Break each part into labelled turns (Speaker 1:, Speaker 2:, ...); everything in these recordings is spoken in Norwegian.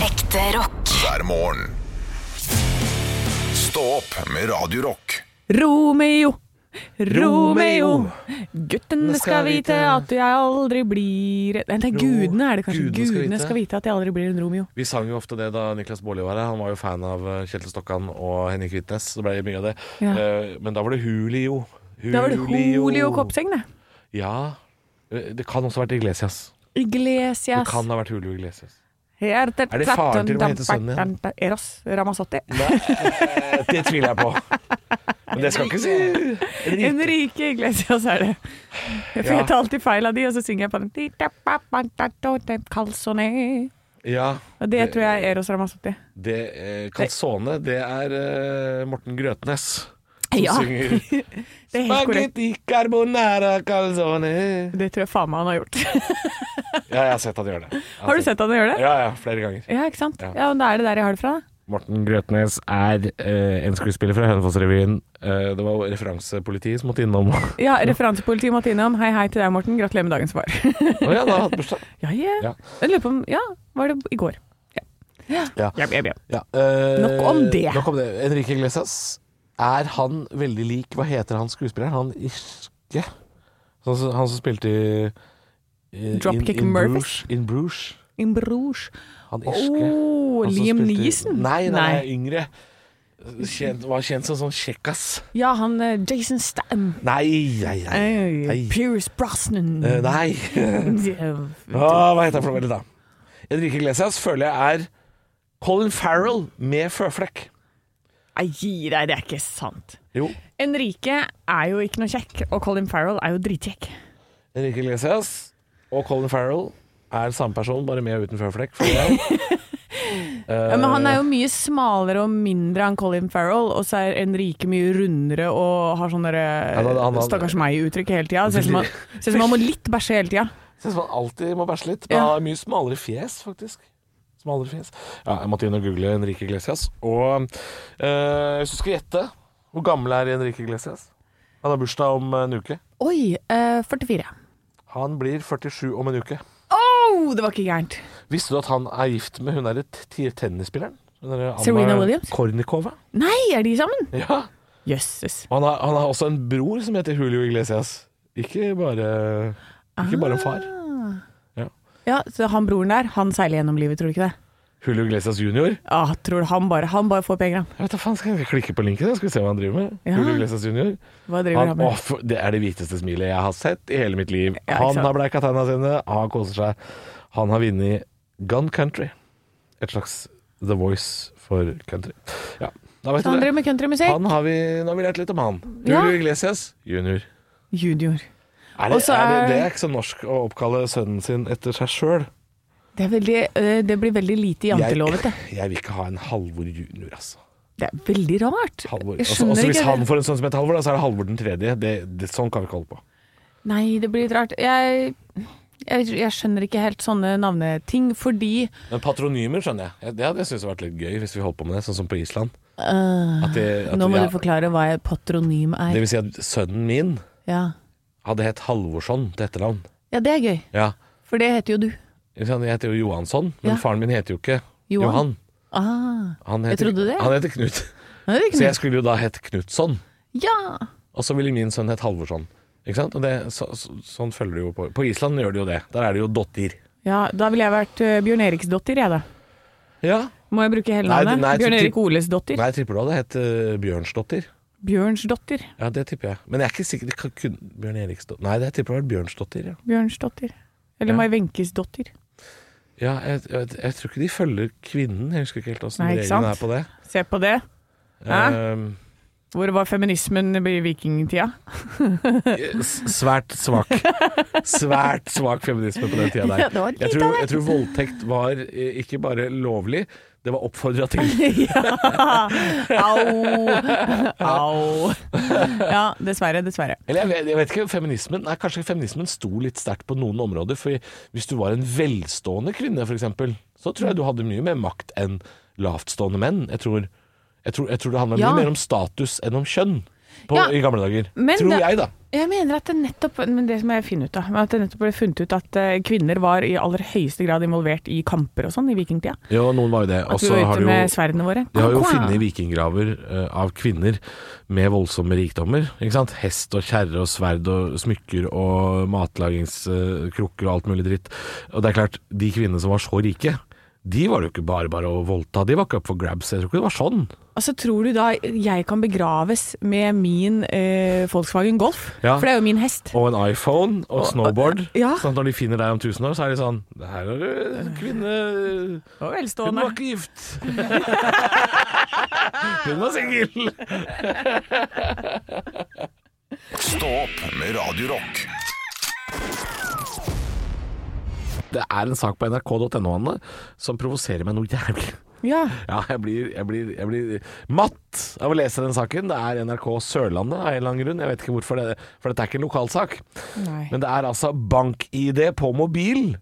Speaker 1: Ekte rock.
Speaker 2: hver morgen. Stå opp med Radio Rock.
Speaker 3: Romeo, Romeo,
Speaker 4: Romeo.
Speaker 3: guttene skal vite at jeg aldri blir Nei, det er
Speaker 4: Jo,
Speaker 3: gudene er det kanskje.
Speaker 4: gudene skal
Speaker 3: Gudene
Speaker 4: vite.
Speaker 3: skal vite at jeg aldri blir en Romeo.
Speaker 4: Vi sang jo ofte det da Niklas Baarli var her. Han var jo fan av eh, Kjetil Stokkan og Henning Kvitnes. Så ble det mye av det.
Speaker 3: Ja.
Speaker 4: Eh, Men da var det Hulio.
Speaker 3: Da var det Julio Kopseng, det.
Speaker 4: Ja. Eh, Det kan også ha vært Iglesias. Det
Speaker 3: Iglesias.
Speaker 4: kan ha vært Julio Iglesias.
Speaker 3: Er det
Speaker 4: faren til hva heter sønnen
Speaker 3: Eros Ramazzotti.
Speaker 4: Eh, Det tviler jeg på. Men det skal ikke si
Speaker 3: Enrique Iglesias er det. For
Speaker 4: Ja.
Speaker 3: jeg tar alltid feil av de, og så synger jeg på den Calzone.
Speaker 4: Ja.
Speaker 3: Og det tror jeg er Eros Ramazzotti.
Speaker 4: Det, eh, Calzone, det er eh, Morten Grøtnes. Som
Speaker 3: Ja.
Speaker 4: synger
Speaker 3: Det er helt korrekt.
Speaker 4: Spaghetti carbonara calzone.
Speaker 3: Det tror jeg faen meg han har gjort.
Speaker 4: Ja, jeg har sett han gjør det. Jeg
Speaker 3: Har du sett han gjøre det?
Speaker 4: Ja, ja, flere ganger.
Speaker 3: Ja, ikke sant?
Speaker 4: Ja.
Speaker 3: Ja, men Da er det der jeg har det fra, da.
Speaker 4: Morten Grøtnes er eh, en skuespiller fra Hønefoss-revyen. Eh, det var jo referansepolitiet som måtte innom. Å
Speaker 3: Ja, referansepoliti Martinum. Hei, hei til deg, Morten. Gratulerer med dagen som var.
Speaker 4: ja, da har hatt bursdag.
Speaker 3: ja, yeah.
Speaker 4: Ja.
Speaker 3: Jeg lurer på om Ja, var det i går? Ja.
Speaker 4: Ja.
Speaker 3: Jep, jep, jep.
Speaker 4: Ja, eh,
Speaker 3: Nok om det.
Speaker 4: Nok om det. Enrique Iglesias, er han veldig lik Hva heter han skuespilleren? Han irske? Han, som- han som spilte i i-
Speaker 3: Dropkick
Speaker 4: in, in
Speaker 3: Murphys.
Speaker 4: Bruges, in Bruges.
Speaker 3: In Bruges.
Speaker 4: Han irske.
Speaker 3: Oh,
Speaker 4: Han som
Speaker 3: Liam
Speaker 4: spilte i-
Speaker 3: Neeson?
Speaker 4: Nei, nei, yngre. Kjent, var kjent som sånn kjekkas.
Speaker 3: Ja, han eh, Jason Statham.
Speaker 4: Nei, nei, nei.
Speaker 3: Hey,
Speaker 4: Nei.
Speaker 3: Pierce Brosnan.
Speaker 4: Eh, nei. Ah. Åh, hva heter han for noe vel da? Enrique Iglesias føler jeg er Colin Farrell med føflekk.
Speaker 3: Nei, gi deg, det er ikke sant.
Speaker 4: Jo.
Speaker 3: Enrique er jo ikke noe kjekk, og Colin Farrell er jo dritkjekk.
Speaker 4: Enrique Iglesias og Colin Farrell er samme person, bare med og uten føflekk. føler jeg.
Speaker 3: Ja, men han er
Speaker 4: Eh.
Speaker 3: jo mye smalere og mindre enn Colin Farrell, og så er Enrique mye rundere og har sånn
Speaker 4: Ja, da- han-
Speaker 3: derre
Speaker 4: han-
Speaker 3: stakkars meg-uttrykk hele tida. Ser ut som han- ser ut som han må litt bæsje hele tida.
Speaker 4: Eh, Synes man alltid må bæsje litt. Men
Speaker 3: Ja.
Speaker 4: han har mye smalere fjes, faktisk. Smalere fjes. Ja, jeg måtte inn og google Enrique Iglesias. Og eh, hvis du skal gjette, hvor gammel er Enrique Iglesias? Han har bursdag om en uke.
Speaker 3: Oi, eh, 44.
Speaker 4: Han blir 47 om en uke.
Speaker 3: Oh, det var ikke gærent.
Speaker 4: Visste du at han er gift med hun derre t- t- tennisspilleren? Hun derre Anna
Speaker 3: Serena Williams?
Speaker 4: Kornikova.
Speaker 3: Nei, er de sammen?
Speaker 4: Ja.
Speaker 3: Jøsses.
Speaker 4: Og han har, han har også en bror som heter Julio Iglesias. Ikke bare, ikke bare en far.
Speaker 3: Ah.
Speaker 4: Ja.
Speaker 3: Ja, så han broren der, han seiler gjennom livet, tror du ikke det?
Speaker 4: Julio Iglesias junior.
Speaker 3: Ja, tror du han bare, han bare får penger, han.
Speaker 4: Jeg vet da faen, Skal jeg klikke på linken? da? Skal vi se hva han driver med?
Speaker 3: Ja.
Speaker 4: Julio Iglesias junior.
Speaker 3: Hva driver han,
Speaker 4: Han, å,
Speaker 3: med?
Speaker 4: for, det er det hviteste smilet jeg har sett i hele mitt liv.
Speaker 3: Ja, ikke
Speaker 4: han
Speaker 3: sant?
Speaker 4: har bleika tenna sine, han koser seg. Han har vunnet Gun Country. Et slags The Voice for country. Ja, da vet
Speaker 3: Han
Speaker 4: du det.
Speaker 3: driver med countrymusikk.
Speaker 4: Han har vi, nå har vi lært litt om han.
Speaker 3: Ja.
Speaker 4: Julio Iglesias junior.
Speaker 3: Junior.
Speaker 4: Er det,
Speaker 3: Og så
Speaker 4: er det,
Speaker 3: er-
Speaker 4: det er ikke så norsk å oppkalle sønnen sin etter seg sjøl.
Speaker 3: Det, er veldig, eh, det blir veldig lite jantelovete.
Speaker 4: jeg vil ikke ha en Halvor junior, altså.
Speaker 3: Det er veldig rart.
Speaker 4: Halvor.
Speaker 3: Jeg
Speaker 4: Også,
Speaker 3: skjønner
Speaker 4: også hvis
Speaker 3: ikke
Speaker 4: han
Speaker 3: det.
Speaker 4: får en sønn som heter Halvor, da, så er det Halvor den tredje. Det, det, sånn kan vi ikke holde på.
Speaker 3: Nei, det blir litt rart. Jeg, jeg, jeg skjønner ikke helt sånne navneting, fordi
Speaker 4: Men patronymer skjønner jeg. Det hadde jeg syntes vært litt gøy hvis vi holdt på med det, sånn som på Island.
Speaker 3: øh,
Speaker 4: At det, at
Speaker 3: Nå må
Speaker 4: ja,
Speaker 3: du forklare hva et patronym
Speaker 4: det
Speaker 3: er.
Speaker 4: vil si at sønnen min
Speaker 3: Ja.
Speaker 4: hadde hett Halvorsson til etternavn.
Speaker 3: ja, det er gøy.
Speaker 4: Ja.
Speaker 3: For det heter jo du.
Speaker 4: Ikke sant? Jeg heter jo Johansson, men
Speaker 3: Ja.
Speaker 4: faren min heter jo ikke
Speaker 3: Johan.
Speaker 4: Johan.
Speaker 3: Ah,
Speaker 4: Han
Speaker 3: Jeg
Speaker 4: heter,
Speaker 3: trodde det.
Speaker 4: Han heter Knut.
Speaker 3: det er ikke
Speaker 4: Så
Speaker 3: noe.
Speaker 4: jeg skulle jo da hett Knutson.
Speaker 3: Ja!
Speaker 4: Og så ville min sønn hett Halvorsson. Ikke sant? Og det, så, så, sånn følger det jo på. På Island gjør det jo det. Der er det jo dotter.
Speaker 3: ja! Da ville jeg vært eh, Bjørn Eriks dotter, jeg da.
Speaker 4: Ja.
Speaker 3: Må jeg bruke hele
Speaker 4: Nei,
Speaker 3: navnet?
Speaker 4: det- nei,
Speaker 3: Bjørn
Speaker 4: typ-
Speaker 3: Erik Oles dotter?
Speaker 4: Nei, jeg tipper du hadde hett eh, Bjørnsdotter.
Speaker 3: Bjørns dotter.
Speaker 4: Ja, det tipper jeg. Men jeg er ikke sikker. Det kan, kun, Bjørn Eriksdotter Nei, det jeg tipper det var Bjørnsdotter, ja.
Speaker 3: Bjørns dotter. Eller
Speaker 4: Ja.
Speaker 3: Mai Wenches dotter.
Speaker 4: Ja, jeg, jeg, jeg tror ikke de følger kvinnen. Jeg husker ikke helt åssen
Speaker 3: Nei, ikke
Speaker 4: reglene
Speaker 3: sant?
Speaker 4: er på det.
Speaker 3: Se på det. Hæ?
Speaker 4: Ehm,
Speaker 3: Hvor var feminismen i vikingtida?
Speaker 4: s- svært svak Svært svak feminisme på den tida der.
Speaker 3: Ja, det var litt
Speaker 4: jeg,
Speaker 3: av
Speaker 4: tror,
Speaker 3: det.
Speaker 4: jeg tror voldtekt var eh, ikke bare lovlig, det var oppfordra til.
Speaker 3: ja! Au! Au. Ja, dessverre, dessverre.
Speaker 4: Eller jeg vet, jeg vet ikke, feminismen Nei, kanskje feminismen sto litt sterkt på noen områder. For hvis du var en velstående kvinne, f.eks., så tror jeg du hadde mye mer makt enn lavtstående menn. Jeg tror, jeg tror, jeg tror det handla
Speaker 3: Ja.
Speaker 4: mye mer om status enn om kjønn. på,
Speaker 3: Ja.
Speaker 4: i gamle dager.
Speaker 3: Men
Speaker 4: Tror
Speaker 3: det-
Speaker 4: jeg, da.
Speaker 3: Jeg mener at det nettopp men det som jeg finner ut da, men at det nettopp ble funnet ut at eh, kvinner var i aller høyeste grad involvert i kamper og sånn i vikingtida.
Speaker 4: Ja, noen var jo det.
Speaker 3: At
Speaker 4: Og så
Speaker 3: vi var
Speaker 4: har
Speaker 3: ute
Speaker 4: det jo-
Speaker 3: med sverdene våre.
Speaker 4: De har jo
Speaker 3: Kom, kom.
Speaker 4: funnet vikinggraver eh, av kvinner med voldsomme rikdommer. Ikke sant? Hest og kjerre og sverd og smykker og matlagingskrukker og alt mulig dritt. Og det er klart, de kvinnene som var så rike, de var det jo ikke bare bare å voldta. De var ikke opp for grabs. Jeg tror ikke det var sånn.
Speaker 3: Altså, tror du da jeg kan begraves med min eh, Volkswagen Golf?
Speaker 4: Ja.
Speaker 3: For det er jo min hest.
Speaker 4: Og en iPhone og snowboard.
Speaker 3: ja.
Speaker 4: Sånn at når de finner deg om tusen år, så er de sånn Her er du en kvinne
Speaker 3: Og
Speaker 4: Hun
Speaker 3: velstående.
Speaker 4: var ikke gift. Hun var singel.
Speaker 2: Stå opp med Radio Rock.
Speaker 4: Det er en sak på nrk.no Anne, som provoserer meg noe jævlig.
Speaker 3: Ja.
Speaker 4: Ja, jeg blir, jeg, blir, jeg blir matt av å lese den saken. Det er NRK Sørlandet av en eller annen grunn. Jeg vet ikke hvorfor, det, for dette er ikke en lokalsak.
Speaker 3: Nei.
Speaker 4: Men det er altså bank-ID på mobil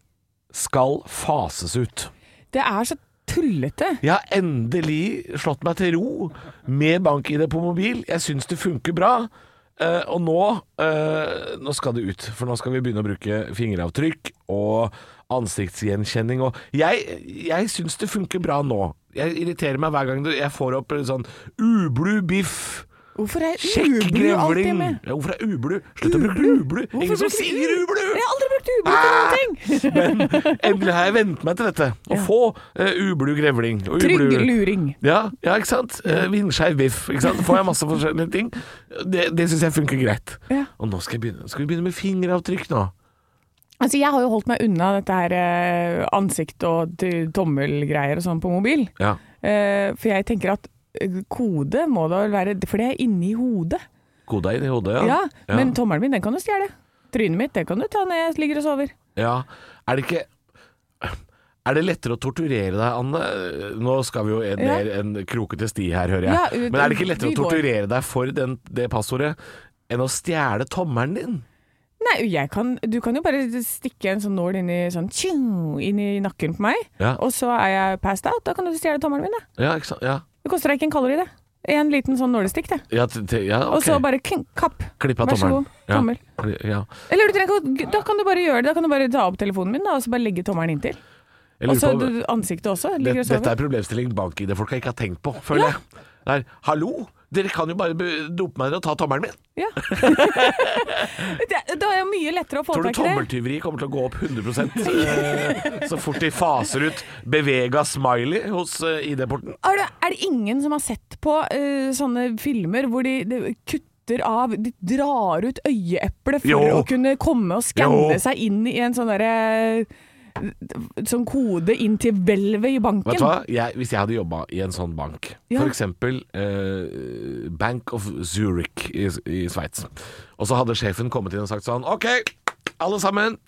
Speaker 4: skal fases ut.
Speaker 3: Det er så tullete.
Speaker 4: Jeg har endelig slått meg til ro med bank-ID på mobil. Jeg syns det funker bra. Eh, og nå, eh, nå skal det ut, for nå skal vi begynne å bruke fingeravtrykk og ansiktsgjenkjenning. Og jeg jeg syns det funker bra nå. Jeg irriterer meg hver gang det- jeg får opp en sånn ublu biff.
Speaker 3: Hvorfor er
Speaker 4: Kjekk
Speaker 3: ublu alltid
Speaker 4: grevling.
Speaker 3: med?
Speaker 4: Ja, hvorfor er ublu? Slutt å bruke ublu. Ingen som
Speaker 3: bruker du-
Speaker 4: sier ublu!
Speaker 3: Jeg har aldri brukt ublu til noen ting!
Speaker 4: Ah, Men endelig har jeg vent meg til dette. Å få eh, ublu grevling. Og
Speaker 3: Trygg
Speaker 4: ublu-
Speaker 3: luring.
Speaker 4: ja, ja, ikke sant? Eh, Vindskeiv biff. ikke sant? Får jeg masse forskjellige ting. Det, det syns jeg funker greit.
Speaker 3: Ja.
Speaker 4: Og nå skal, jeg begynne, skal vi begynne med fingeravtrykk nå.
Speaker 3: Altså, jeg har jo holdt meg unna dette her eh, ansikt og t- tommelgreier og sånn på mobil.
Speaker 4: Ja.
Speaker 3: Eh, for jeg tenker at eh, kode må da vel være For det er inni hodet.
Speaker 4: Koda inn i hodet, ja.
Speaker 3: Ja, Men tommelen min, den kan du stjele. Trynet mitt, det kan du ta når jeg ligger og sover.
Speaker 4: Ja. Er det ikke Er det lettere å torturere deg, Anne? Nå skal vi jo ned
Speaker 3: Ja.
Speaker 4: en krokete sti her, hører jeg.
Speaker 3: Ja, u-
Speaker 4: Men er det ikke lettere
Speaker 3: vi
Speaker 4: å
Speaker 3: går.
Speaker 4: torturere deg for den, det passordet enn å stjele tommelen din?
Speaker 3: Nei, jeg kan, du kan jo bare stikke en sånn nål inn i, sånn, tjing, inn i nakken på meg,
Speaker 4: Ja.
Speaker 3: og så er jeg passed out. Da kan du stjele tommelen min. Da.
Speaker 4: Ja, ikke sant? Ja.
Speaker 3: Det koster deg ikke en kalori, det. En liten sånn nålestikk, det.
Speaker 4: Ja, t- t- ja,
Speaker 3: Og så
Speaker 4: ok.
Speaker 3: bare kling, kapp.
Speaker 4: Klipp av
Speaker 3: Vær så
Speaker 4: tommelen.
Speaker 3: god, tommel.
Speaker 4: Ja. Ja.
Speaker 3: Eller du trenger ikke å Da kan du bare gjøre det. Da kan du bare ta opp telefonen min da, og så bare legge tommelen inntil.
Speaker 4: Jeg
Speaker 3: Og
Speaker 4: lurer
Speaker 3: så
Speaker 4: på-
Speaker 3: du- ansiktet også.
Speaker 4: Det,
Speaker 3: Ligger og
Speaker 4: dette
Speaker 3: sover.
Speaker 4: er problemstilling bank-ID-folk ikke har tenkt på, føler jeg. Det er, hallo, dere kan jo bare be- dope meg dere og ta tommelen min.
Speaker 3: Ja. det, da er jo mye lettere å få
Speaker 4: Tror du
Speaker 3: tak i det.
Speaker 4: tommeltyveri kommer til å gå opp 100 eh, så fort de faser ut bevega smiley hos eh, ID-porten?
Speaker 3: Er, det. er det ingen som har sett på eh, sånne filmer hvor de, de kutter av De drar ut øyeeplet for
Speaker 4: Jo.
Speaker 3: å kunne komme og skanne
Speaker 4: Jo.
Speaker 3: seg inn i en sånn derre Sånn kode inn til hvelvet i banken.
Speaker 4: Vet du hva? Jeg, hvis jeg hadde jobba i en sånn bank,
Speaker 3: Ja.
Speaker 4: for eksempel eh, Bank of Zurich i, i Sveits, og så hadde sjefen kommet inn og sagt sånn OK, alle sammen.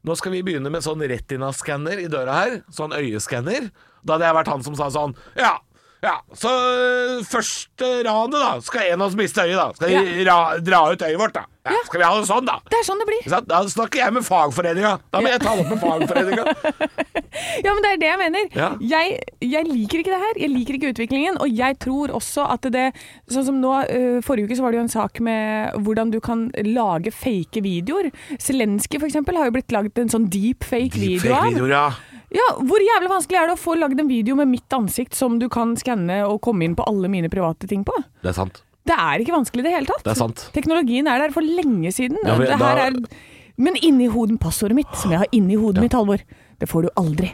Speaker 4: Nå skal vi begynne med sånn retinaskanner i døra her. Sånn øyeskanner. Da hadde jeg vært han som sa sånn Ja, ja, så eh, første ranet, da, skal en av oss miste øyet, da. Skal vi ra, dra ut øyet vårt, da. Ja,
Speaker 3: Ja.
Speaker 4: Skal vi ha det sånn, da?
Speaker 3: Det er sånn det blir.
Speaker 4: Ikke sant? Da snakker jeg med fagforeninga. Da må jeg ta det opp med fagforeninga.
Speaker 3: Ja, men det er det jeg mener.
Speaker 4: Ja.
Speaker 3: Jeg, jeg liker ikke det her. Jeg liker ikke utviklingen. Og jeg tror også at det Sånn som nå, øh, forrige uke så var det jo en sak med hvordan du kan lage fake videoer. Zelenskyj f.eks. har jo blitt laget en sånn deepfake video av.
Speaker 4: Videoer, ja.
Speaker 3: Ja, Hvor jævlig vanskelig er det å få lagd en video med mitt ansikt som du kan skanne og komme inn på alle mine private ting på?
Speaker 4: Det er sant.
Speaker 3: Det er ikke vanskelig i det hele tatt.
Speaker 4: Det er sant.
Speaker 3: Teknologien er der for lenge siden.
Speaker 4: Ja, men
Speaker 3: men, det
Speaker 4: da-
Speaker 3: her er, men inni hodet passordet mitt, som jeg har inni hodet mitt, Halvor, det får du aldri.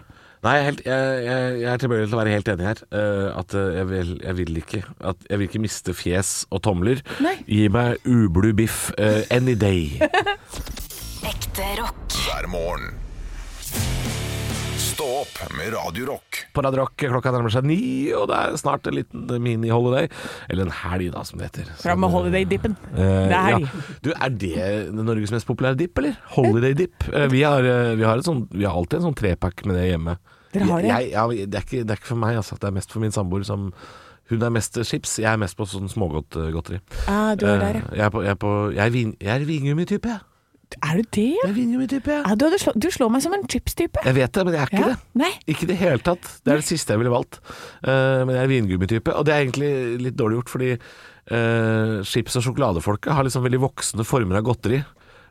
Speaker 4: Nei, jeg er, helt, jeg, jeg, jeg er tilbøyelig til å være helt enig her. eh, at eh, jeg vil, jeg vil ikke at Jeg vil ikke miste fjes og tomler.
Speaker 3: Nei.
Speaker 4: Gi meg ublu biff eh, any day.
Speaker 1: Ekte rock.
Speaker 2: hver morgen. Stå opp med Radio Rock.
Speaker 4: På Radio Rock klokka nærmer seg ni, og det er snart en liten mini-holiday. Eller en helg, da, som det heter.
Speaker 3: Fram med holiday-dippen.
Speaker 4: Eh,
Speaker 3: Det er helg.
Speaker 4: ja. Du, er det Norges mest populære dip, eller? Holiday dip. Eh, vi, har, eh, vi, har et sånt, vi har alltid en sånn trepack med det hjemme.
Speaker 3: Dere har det?
Speaker 4: Jeg, jeg, det, er ikke, det er ikke for meg, altså. Det er mest for min samboer som Hun er mest chips, jeg er mest på sånn smågodtgodteri.
Speaker 3: Ah, du er der,
Speaker 4: Eh, jeg er, på, jeg er, på, jeg er, vin, jeg er vingummitype, jeg.
Speaker 3: ja. Eh, Er du det, ja?
Speaker 4: Jeg er vingummitype, jeg.
Speaker 3: Ah, du, hadde slå, du slår meg som en chips-type.
Speaker 4: Jeg vet det, men jeg er ikke
Speaker 3: Ja.
Speaker 4: det.
Speaker 3: Nei.
Speaker 4: Ikke i det hele tatt. Det er det siste jeg ville valgt. Eh, men jeg er vingummitype, og det er egentlig litt dårlig gjort, fordi eh, chips- og sjokoladefolket har liksom veldig voksne former av godteri.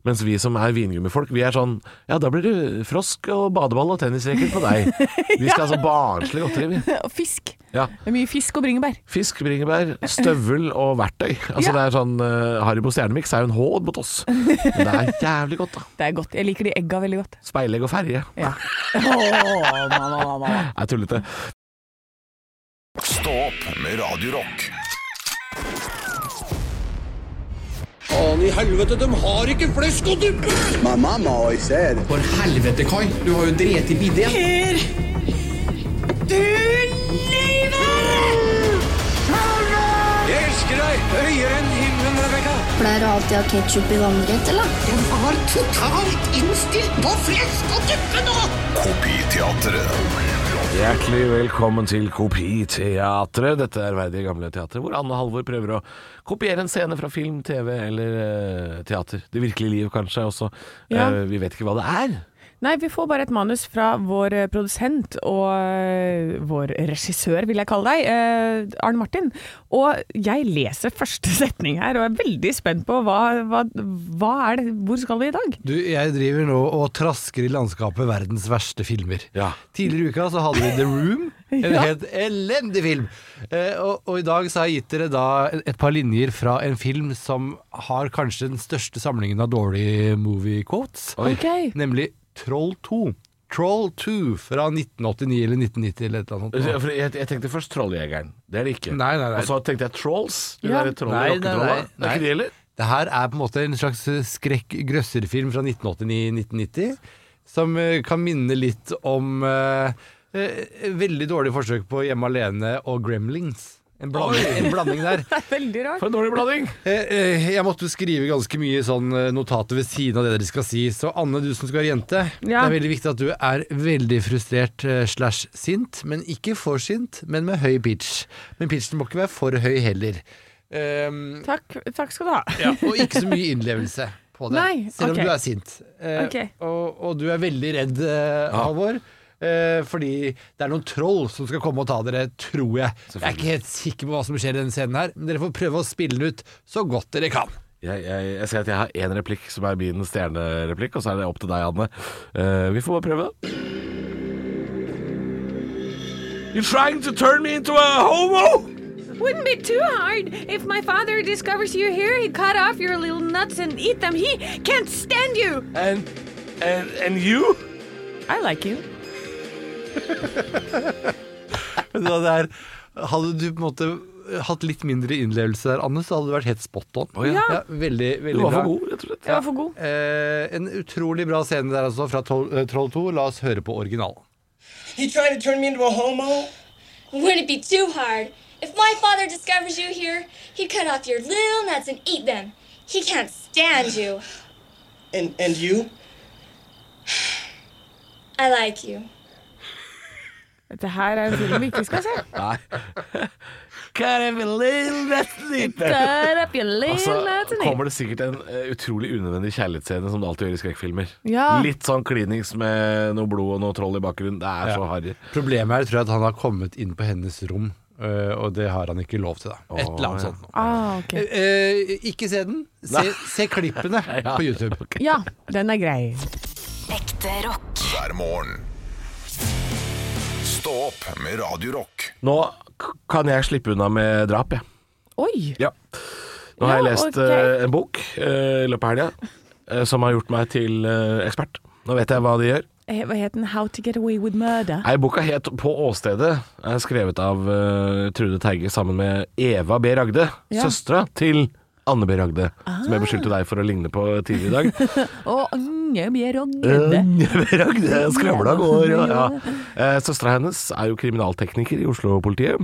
Speaker 4: Mens vi som er vingummifolk, vi er sånn Ja, da blir det frosk og badeball og tennisracket på deg. Vi skal altså barnslig godteri, vi.
Speaker 3: Og fisk.
Speaker 4: Ja.
Speaker 3: Det er mye fisk og bringebær.
Speaker 4: Fisk, bringebær, støvel og verktøy.
Speaker 3: Ja.
Speaker 4: Altså det er sånn eh, Haribo Stjernemix er jo en hån mot oss. Men det er jævlig godt, da.
Speaker 3: Det er godt. Jeg liker de egga veldig godt.
Speaker 4: Speilegg og ferje
Speaker 3: Ja. Åh, mamma, mamma.
Speaker 4: er tullete.
Speaker 2: Stå opp med Radio Rock.
Speaker 5: Faen i helvete, de har ikke flesk og duppe!
Speaker 6: My mama always said,
Speaker 5: For helvete, Kai. Du har jo drept i bidé.
Speaker 7: Jeg elsker deg høyere enn himmelen, Rebekka.
Speaker 8: Pleier du alltid å ha ketsjup i vannrett, eller?
Speaker 5: De var totalt innstilt på flesk og duppe nå!
Speaker 2: Kopiteatret.
Speaker 4: Hjertelig velkommen til Kopiteatret. Dette ærverdige gamle teatret hvor Anne Halvor prøver å kopiere en scene fra film, TV eller eh, teater. Det virkelige liv kanskje også.
Speaker 3: Ja.
Speaker 4: Eh, vi vet ikke hva det er.
Speaker 3: Nei, vi får bare et manus fra vår eh, produsent og eh, vår regissør, vil jeg kalle deg, eh, Arne Martin. Og jeg leser første setning her og er veldig spent på hva, hva, hva er det, hvor skal vi i dag?
Speaker 9: Du, jeg driver nå og trasker i landskapet verdens verste filmer.
Speaker 4: Ja.
Speaker 9: Tidligere i uka så hadde vi The Room, en
Speaker 3: Ja.
Speaker 9: helt elendig film. Eh, og, og i dag så har jeg gitt dere da et par linjer fra en film som har kanskje den største samlingen av dårlige movie quotes,
Speaker 3: Ok.
Speaker 9: nemlig Troll 2. Troll 2 fra 1989 eller 1990 eller et eller annet.
Speaker 4: For
Speaker 9: sånt.
Speaker 4: jeg, jeg tenkte først Trolljegeren. Det er det ikke.
Speaker 9: Nei, nei, nei.
Speaker 4: Og så tenkte jeg Trolls. De
Speaker 3: Ja.
Speaker 4: der trollene,
Speaker 9: Nei, nei,
Speaker 4: rocketrolla.
Speaker 9: nei.
Speaker 4: Det er ikke de heller.
Speaker 9: Det her er på en måte en slags skrekk-grøsserfilm fra 1989-1990, som eh, kan minne litt om eh, eh, veldig dårlig forsøk på Hjemme alene og Gremlings. En blanding, en blanding der.
Speaker 3: Veldig rart.
Speaker 4: For en dårlig blanding.
Speaker 9: Eh, eh, Jeg måtte jo skrive ganske mye sånn eh, notater ved siden av det dere skal si. Så Anne, du som skal være jente, det
Speaker 3: Ja.
Speaker 9: er veldig viktig at du er veldig frustrert eh, slash sint. Men ikke for sint, men med høy pitch. Men pitchen må ikke være for høy heller. Um,
Speaker 3: Takk, takk skal du ha.
Speaker 9: ja, og ikke så mye innlevelse på det.
Speaker 3: Nei,
Speaker 9: selv om
Speaker 3: ok.
Speaker 9: du er sint. Eh,
Speaker 3: Ok.
Speaker 9: og, og du er veldig redd, eh, Halvor. Eh, fordi det er noen troll som skal komme og ta dere, tror jeg. Jeg er ikke helt sikker på hva som skjer i denne scenen her, men dere får prøve å spille den ut så godt dere kan.
Speaker 4: Jeg, jeg, jeg ser at jeg har én replikk som er min stjernereplikk, og så er det opp til deg, Anne. Eh, vi får bare prøve, da. You're trying to turn me into a homo!
Speaker 1: Wouldn't be too hard if my father discovers you here. He cut off your little nuts and eat them. He can't stand you.
Speaker 4: And, and, and you?
Speaker 3: I like you.
Speaker 9: hadde du på en måte hatt litt mindre innlevelse der, Anne, så hadde du vært helt spot on.
Speaker 4: ja.
Speaker 9: Ja, veldig, veldig
Speaker 4: Du var
Speaker 9: bra.
Speaker 4: for god, rett og slett.
Speaker 3: Jeg var for god.
Speaker 9: Eh, en utrolig bra scene der altså, fra Troll eh, Troll 2. La oss høre på originalen.
Speaker 10: He tried to turn me into a homo.
Speaker 11: Wouldn't it be too hard? If my father discovers you here, he'd cut off your little nuts and eat them. He can't stand you.
Speaker 10: And and you?
Speaker 11: I like you.
Speaker 3: Dette her er en film vi ikke skal se.
Speaker 4: Kind of a little less deep.
Speaker 3: Cut up your
Speaker 4: Og så
Speaker 3: little nuts and eat.
Speaker 4: Altså, kommer det sikkert en eh, utrolig unødvendig kjærlighetsscene, som det alltid gjør i skrekkfilmer.
Speaker 3: Ja.
Speaker 4: Litt sånn klinings med noe blod og noe troll i bakgrunnen. Det er så harry.
Speaker 9: Problemet her tror jeg at han har kommet inn på hennes rom, øh, og det har han ikke lov til. da Et eller
Speaker 4: ja.
Speaker 9: annet sånt. nå.
Speaker 3: Ah, ok.
Speaker 9: Eh, ikke se den. Se, se klippene på YouTube.
Speaker 3: Ja, den er grei.
Speaker 1: Ekte rock.
Speaker 2: hver morgen. Stå opp med Radio Rock.
Speaker 4: Nå k- kan jeg slippe unna med drap, jeg.
Speaker 3: Oi.
Speaker 4: Ja. Nå har
Speaker 3: Ja,
Speaker 4: jeg
Speaker 3: ok.
Speaker 4: lest eh, en bok eh, i løpet av helga eh, som har gjort meg til eh, ekspert. Nå vet jeg hva de gjør.
Speaker 3: Eh, Hva het den? How to get away with murder.
Speaker 4: Nei, boka het 'På åstedet'. Er skrevet av eh, Trude Teige sammen med Eva B. Ragde,
Speaker 3: Ja. Ah.
Speaker 4: søstera til Anne B. Ragde, som jeg beskyldte deg for å ligne på tidligere i dag.
Speaker 3: Og Anne Bjerogde.
Speaker 4: Eh. Ragd, jeg skravla går. Ja. Ja. Eh, Søstera hennes er jo kriminaltekniker i Oslo-politiet,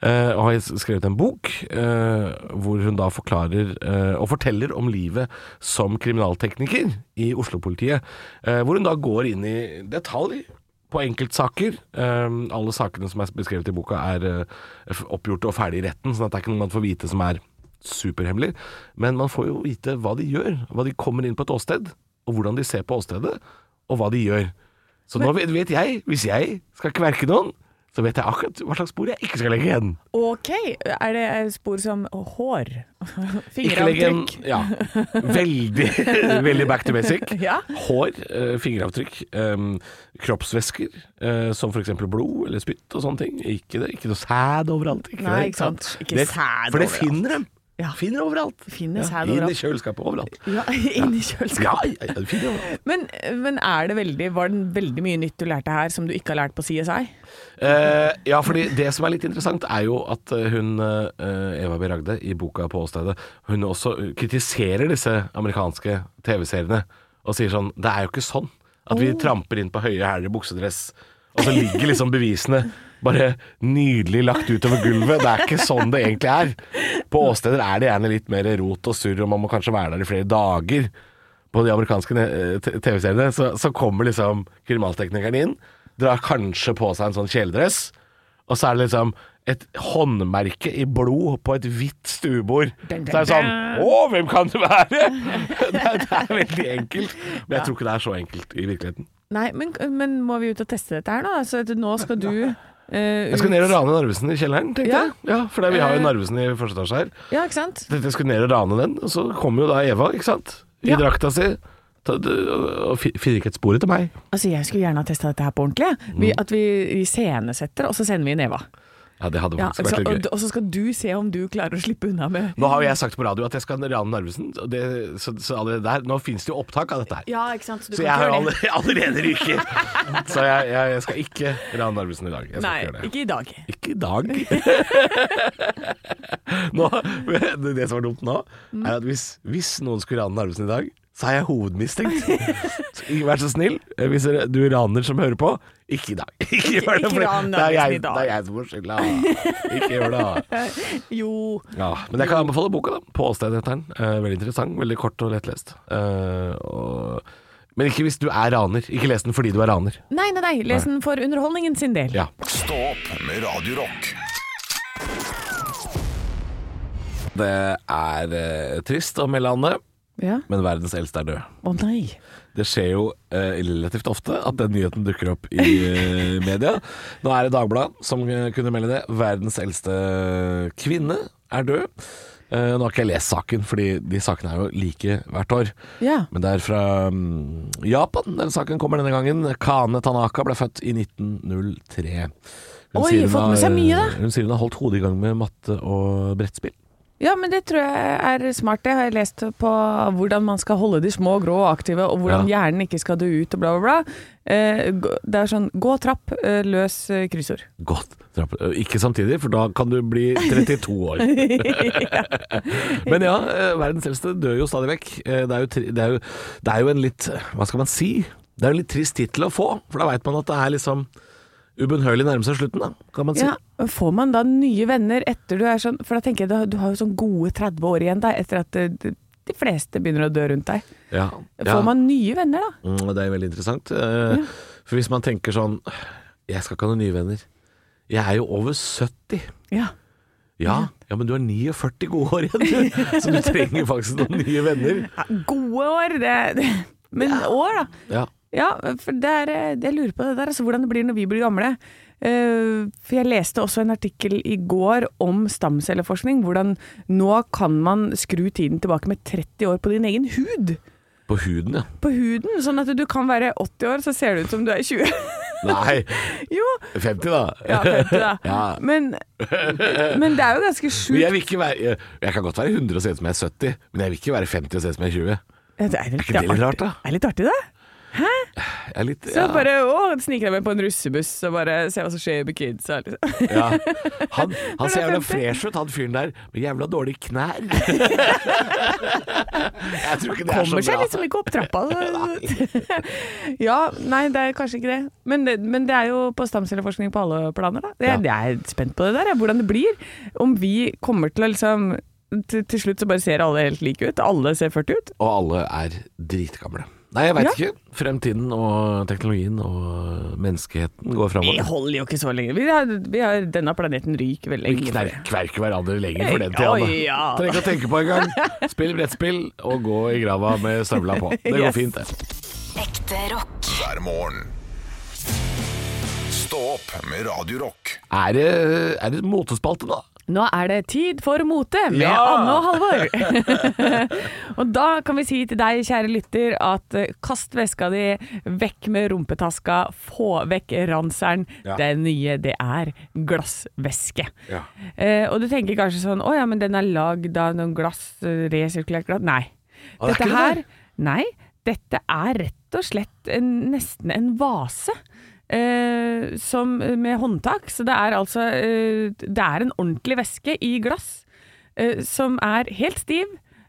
Speaker 4: eh, og har skrevet en bok eh, hvor hun da forklarer eh, og forteller om livet som kriminaltekniker i Oslo-politiet. eh, Hvor hun da går inn i detalj på enkeltsaker. Eh, Alle sakene som er beskrevet i boka er eh, f- oppgjort og ferdig i retten, sånn at det er ikke noe man får vite som er superhemmelig. Men man får jo vite hva de gjør, hva de kommer inn på et åsted, og hvordan de ser på åstedet, og hva de gjør. Så nå vet- vet jeg, hvis jeg skal kverke noen, så vet jeg akkurat hva slags spor jeg ikke skal legge igjen.
Speaker 3: Ok, er det eh, spor som hår?
Speaker 4: Ikke legge igjen
Speaker 3: Fingeravtrykk?
Speaker 4: ja, veldig, veldig back to basic.
Speaker 3: Ja.
Speaker 4: Hår, eh, fingeravtrykk, eh, kroppsvæsker eh, som f.eks. blod eller spytt og sånne ting. Ikke, det, ikke noe sæd overalt. Ikke
Speaker 3: Nei,
Speaker 4: det,
Speaker 3: ikke sant. Ikke
Speaker 4: det,
Speaker 3: sæd
Speaker 4: For det
Speaker 3: overalt.
Speaker 4: finner de.
Speaker 3: Ja.
Speaker 4: Finner overalt.
Speaker 3: Finner sæd
Speaker 4: Inn i
Speaker 3: overalt.
Speaker 4: kjøleskapet overalt.
Speaker 3: Ja, inn i kjøleskapet.
Speaker 4: Ja, ja, ja, det finner overalt.
Speaker 3: Men, men er det veldig, var det veldig mye nytt du lærte her som du ikke har lært på CSI?
Speaker 4: Eh, ja, fordi det som er litt interessant er jo at eh, hun, eh, Eva B. Ragde, i boka på åstedet, hun også eh, kritiserer disse amerikanske TV-seriene og sier sånn Det er jo ikke sånn at vi tramper inn på høye hæler i buksedress, og så ligger liksom bevisene bare nydelig lagt utover gulvet. Det er ikke sånn det egentlig er. På åsteder er det gjerne litt mer rot og surr, og man må kanskje være der i flere dager. På de amerikanske eh, t- TV-seriene så, så kommer liksom kriminalteknikeren inn, drar kanskje på seg en sånn kjeledress, og så er det liksom et håndmerke i blod på et hvitt stuebord.
Speaker 3: Dun, dun,
Speaker 4: Så er det sånn
Speaker 3: dun.
Speaker 4: Å, hvem kan det være?! det, er, det er veldig enkelt. Men jeg tror ikke det er så enkelt i virkeligheten.
Speaker 3: Nei, men, men må vi ut og teste dette her nå? Altså, at nå skal du eh,
Speaker 4: Jeg skal ned
Speaker 3: ut-
Speaker 4: og rane Narvesen i kjelleren, tenkte
Speaker 3: Ja.
Speaker 4: jeg. Ja, for det- vi har jo
Speaker 3: Eh.
Speaker 4: Narvesen i første etasje her.
Speaker 3: Ja, ikke sant?
Speaker 4: Tenkte jeg skulle ned og rane den, og så kommer jo da Eva, ikke sant? I
Speaker 3: Ja.
Speaker 4: drakta si. Ta- d- Og fi- finner ikke et spor etter meg.
Speaker 3: Altså, jeg skulle gjerne ha testa dette her på ordentlig. jeg. Vi,
Speaker 4: Mm.
Speaker 3: at vi iscenesetter, og så sender vi inn Eva.
Speaker 4: Ja, det hadde
Speaker 3: Ja,
Speaker 4: faktisk
Speaker 3: altså,
Speaker 4: vært litt
Speaker 3: og,
Speaker 4: gøy.
Speaker 3: og så skal du se om du klarer å slippe unna med
Speaker 4: Nå har jo jeg sagt på radio at jeg skal rane Narvesen, og det, så, så allerede der Nå fins det jo opptak av dette her.
Speaker 3: Ja, ikke sant. Så du
Speaker 4: så
Speaker 3: kan
Speaker 4: jeg har jo
Speaker 3: ikke gjøre det.
Speaker 4: allerede, allerede ryket. Så jeg, jeg, jeg skal ikke rane Narvesen i dag. Jeg skal
Speaker 3: Nei,
Speaker 4: ikke gjøre det.
Speaker 3: ikke i dag.
Speaker 4: Ikke i dag. nå, det det som er dumt nå,
Speaker 3: Mm.
Speaker 4: er at hvis, hvis noen skulle rane Narvesen i dag, så er jeg hovedmistenkt. Så ikke Vær så snill, eh, hvis dere- du raner som hører på, ikke i dag. Ikke, gjør det,
Speaker 3: ikke
Speaker 4: for
Speaker 3: ran
Speaker 4: det er
Speaker 3: Narvesen
Speaker 4: jeg-
Speaker 3: i dag.
Speaker 4: Det er jeg som får skylda. Ikke gjør det.
Speaker 3: Jo.
Speaker 4: Ja, men jeg kan anbefale boka, da. På åstedet heter den. Eh, Veldig interessant, veldig kort og lettlest. Eh, og men ikke hvis du er raner. Ikke les den fordi du er raner.
Speaker 3: Nei, nei, nei. Les den for underholdningen sin del.
Speaker 4: Ja.
Speaker 2: Stå opp med Radio Rock.
Speaker 4: Det er eh, trist å melde Anne,
Speaker 3: Ja.
Speaker 4: men verdens eldste er død.
Speaker 3: Å nei.
Speaker 4: Det skjer jo eh, relativt ofte at den nyheten dukker opp i eh, media. Nå er det Dagbladet som eh, kunne melde det. Verdens eldste eh, kvinne er død. Eh, nå har ikke jeg lest saken, fordi de sakene er jo like hvert år.
Speaker 3: Ja.
Speaker 4: Men det er fra mm, Japan den saken kommer denne gangen. Kane Tanaka ble født i 1903. Hun
Speaker 3: Oi,
Speaker 4: sier hun
Speaker 3: fått med
Speaker 4: har- eh,
Speaker 3: seg mye, da.
Speaker 4: Hun sier hun har holdt hodet i gang med matte og brettspill.
Speaker 3: Ja, men det tror jeg er smart. Det har jeg lest på hvordan man skal holde de små grå og aktive, og hvordan hjernen ikke skal dø ut og bla, bla, bla. Eh, gå- Det er sånn gå trapp, eh, løs eh, kryssord.
Speaker 4: Godt. Trapp- eh, Ikke samtidig, for da kan du bli 32 år. Men ja, eh, verdens eldste dør jo stadig vekk. Eh, Det er jo, tri- det er jo, det er jo en litt Hva skal man si? Det er jo en litt trist tittel å få, for da veit man at det er liksom ubønnhørlig nærme seg slutten, da, kan man si.
Speaker 3: Ja, men Får man da nye venner etter du er sånn For da tenker jeg da- du har jo sånn gode 30 år igjen deg etter at eh, de de fleste begynner å dø rundt deg.
Speaker 4: Ja.
Speaker 3: Får man nye venner da?
Speaker 4: Mm, og Det er veldig interessant. Eh, For hvis man tenker sånn Jeg skal ikke ha noen nye venner. Jeg er jo over 70.
Speaker 3: Ja.
Speaker 4: Ja, ja men du har 49 gode år igjen, du. Så du trenger faktisk noen nye venner.
Speaker 3: Gode år, det, det. Men år, da.
Speaker 4: Ja.
Speaker 3: Ja, for det er, eh, jeg lurer på det der, altså hvordan det blir når vi blir gamle. Eh, for jeg leste også en artikkel i går om stamcelleforskning. Hvordan nå kan man skru tiden tilbake med 30 år på din egen hud.
Speaker 4: På huden, ja.
Speaker 3: På huden, sånn at du kan være 80 år, så ser det ut som du er 20.
Speaker 4: Nei,
Speaker 3: jo,
Speaker 4: 50 da.
Speaker 3: ja, 50 da.
Speaker 4: Ja.
Speaker 3: Men, men det er jo ganske
Speaker 4: Men
Speaker 3: sjukt.
Speaker 4: jeg vil ikke være Jeg kan godt være 100 og se ut som jeg er 70, men jeg vil ikke være 50 og se ut som jeg er 20.
Speaker 3: Ja, det er, litt,
Speaker 4: ikke det litt rart, da?
Speaker 3: Det er litt artig, det.
Speaker 4: Jeg er litt
Speaker 3: Så
Speaker 4: ja,
Speaker 3: bare å, sniker jeg meg på en russebuss og bare se hva som skjer med kidsa. Liksom.
Speaker 4: ja. Han, han ser jævla
Speaker 3: 50.
Speaker 4: fresh ut, han fyren der, med jævla dårlige knær. jeg tror ikke det er så
Speaker 3: Kommer seg
Speaker 4: bra.
Speaker 3: liksom ikke opp trappa. ja, nei, det er kanskje ikke det. Men det, men det er jo på stamcelleforskning på alle planer, da. Jeg, jeg er spent på det der, jeg, hvordan det blir. Om vi kommer til å liksom til, til slutt så bare ser alle helt like ut. Alle ser 40 ut.
Speaker 4: Og alle er dritgamle. Nei, jeg veit
Speaker 3: Ja.
Speaker 4: ikke. Fremtiden og teknologien og menneskeheten går
Speaker 3: Vi
Speaker 4: framover.
Speaker 3: holder jo ikke så lenge. Vi har, vi har, denne planeten ryker vel
Speaker 4: Vi
Speaker 3: lenge.
Speaker 4: kner- kverker hverandre lenger for
Speaker 3: Oi,
Speaker 4: den tida. Anne.
Speaker 3: ja.
Speaker 4: Trenger ikke å tenke på engang. Spill brettspill og gå i grava med støvla på. Det går
Speaker 3: Yes.
Speaker 4: fint, det.
Speaker 2: hver morgen. Stå opp med Radio Rock.
Speaker 4: Er det, er det motespalte nå?
Speaker 3: Nå er det tid for mote med
Speaker 4: Ja!
Speaker 3: Anne og Halvor. og da kan vi si til deg, kjære lytter, at eh, kast veska di, vekk med rumpetaska, få vekk ranseren.
Speaker 12: Ja.
Speaker 3: Det nye, det er glassvæske.
Speaker 12: Ja.
Speaker 3: Eh, og du tenker kanskje sånn, å ja, men den er lagd av noen glass, eh, resirkulert glass. Nei.
Speaker 12: Å, det er
Speaker 3: Dette
Speaker 12: ikke
Speaker 3: her,
Speaker 12: det
Speaker 3: nei, dette er rett og slett en, nesten en vase. eh, som med håndtak, så det er altså eh, Det er en ordentlig væske i glass eh, som er helt stiv.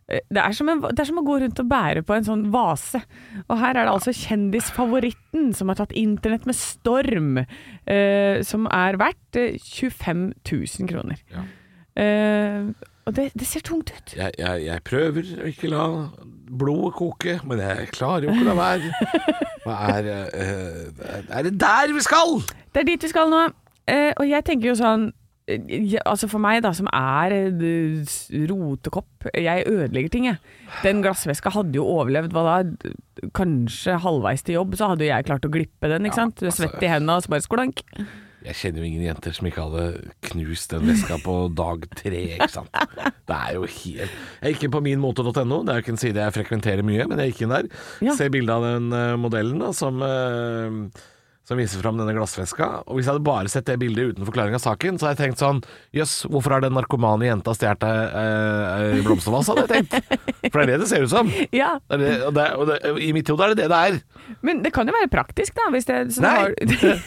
Speaker 3: Eh, Det er, som en, det er som å gå rundt og bære på en sånn vase. Og her er det altså kjendisfavoritten som har tatt internett med storm, eh, som er verdt eh, 25 000 kroner. Eh, og det, det ser tungt ut.
Speaker 4: Jeg, jeg, jeg prøver å ikke la blodet koke, men jeg klarer jo ikke å la være. Hva er, eh, er det der vi skal?
Speaker 3: Det er dit vi skal nå. Eh, og jeg tenker jo sånn eh, jeg, altså For meg, da, som er eh, s- rotekopp Jeg ødelegger ting, jeg. Den glassveska hadde jo overlevd hva da? D- Kanskje halvveis til jobb, så hadde jo jeg klart å glippe den. ikke sant? Du er svett i hendene og så bare skolank.
Speaker 4: Jeg kjenner jo ingen jenter som ikke hadde knust den veska på dag tre, ikke sant. Det er jo helt Jeg gikk inn på minmote.no, det er jo ikke en side jeg frekventerer mye, men jeg gikk inn der. Ser bilde av den eh, modellen da, som, eh, som viser fram denne glassveska. Og hvis jeg hadde bare sett det bildet uten forklaring av saken, så hadde jeg tenkt sånn Jøss, hvorfor har den narkomane jenta stjålet ei uh, blomstervase, hadde jeg tenkt. For det er det det ser ut som.
Speaker 3: Ja.
Speaker 4: Det er det, og det, og det, I mitt hode er det det det er.
Speaker 3: Men det kan jo være praktisk, da. Hvis det, så du
Speaker 4: Nei.
Speaker 3: Har,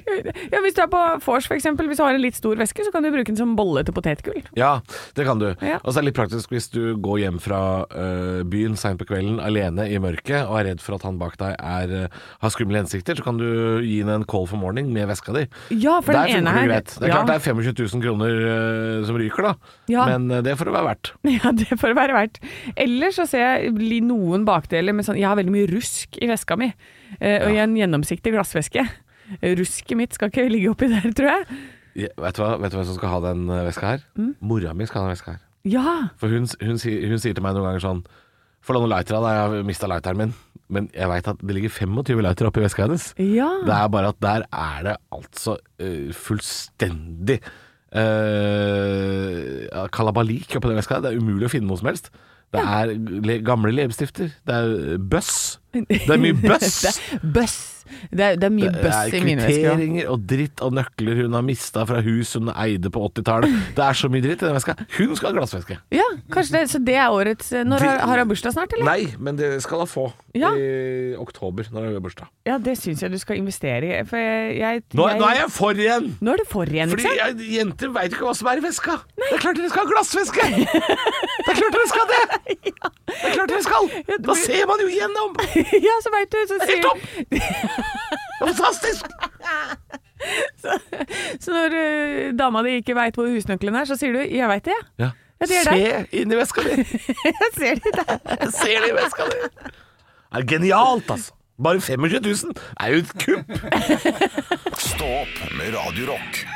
Speaker 3: ja, hvis du er på vors, for eksempel Hvis du har en litt stor veske, så kan du bruke den som bolle til potetgull.
Speaker 4: Ja, det kan du.
Speaker 3: Ja.
Speaker 4: Og så er det litt praktisk hvis du går hjem fra øh, byen seint på kvelden alene i mørket og er redd for at han bak deg er, øh, har skumle hensikter, så kan du gi henne en call for morning med veska di.
Speaker 3: Ja, for den
Speaker 4: Der funker
Speaker 3: ene
Speaker 4: det
Speaker 3: her-
Speaker 4: greit. Det er
Speaker 3: ja.
Speaker 4: klart det er 25 000 kroner øh, som ryker, da.
Speaker 3: Ja.
Speaker 4: Men øh, det får det være verdt.
Speaker 3: Ja, det får det være verdt. Ellers så ser jeg li- noen bakdeler med sånn Jeg har veldig mye rusk i veska mi, eh, og i en gjennomsiktig glassveske. Rusket mitt skal ikke ligge oppi der, tror jeg.
Speaker 4: Ja, vet, du hva, vet du hvem som skal ha den øh, veska her?
Speaker 3: Mm.
Speaker 4: Mora mi skal ha den veska her.
Speaker 3: Ja!
Speaker 4: For hun, hun, sier- hun sier til meg noen ganger sånn Få låne lightera, da. Jeg har mista lighteren min. Men jeg veit at det ligger 25 lightere oppi veska hennes.
Speaker 3: Ja.
Speaker 4: Det er bare at der er det altså eh, fullstendig uh, kalabalik oppi den veska. Det er umulig å finne noe som helst. Det er le gamle leppestifter. Det er eh, bøss. Det er mye bøss.
Speaker 3: det er bøss. Det er, det er mye bøss i mine vesker. også.
Speaker 4: kvitteringer og dritt og nøkler hun har mista fra hus hun eide på 80-tallet. Det er så mye dritt i den veska. Hun skal ha glassveske.
Speaker 3: Ja, kanskje det. Så det er årets eh, Når har, har jeg bursdag snart, eller?
Speaker 4: Nei, men det skal hun få
Speaker 3: Ja.
Speaker 4: i oktober, når hun har bursdag.
Speaker 3: Ja, det syns jeg du skal investere i. For jeg, jeg,
Speaker 4: Nå, nå er jeg for igjen!
Speaker 3: Nå er du for igjen,
Speaker 4: Fordi
Speaker 3: ikke sant?
Speaker 4: jeg, jenter veit ikke hva som er i veska. Det er klart dere skal ha glassveske! Det er klart dere skal det! Det er klart dere skal! Da ser man jo gjennom!
Speaker 3: ja, så veit du. Så
Speaker 4: Det er
Speaker 3: sier,
Speaker 4: helt topp! Det er fantastisk!
Speaker 3: så når eh, dama di ikke veit hvor husnøkkelen er, så sier du 'jeg veit det', jeg.
Speaker 4: Ja.
Speaker 3: Ja, det gjør
Speaker 4: Se
Speaker 3: det.
Speaker 4: inn i veska di!
Speaker 3: Jeg ser det der.
Speaker 4: Jeg ser det i veska di! Det er genialt, altså. Bare 25 000 er jo et kupp!
Speaker 2: Stå opp med Radio Rock.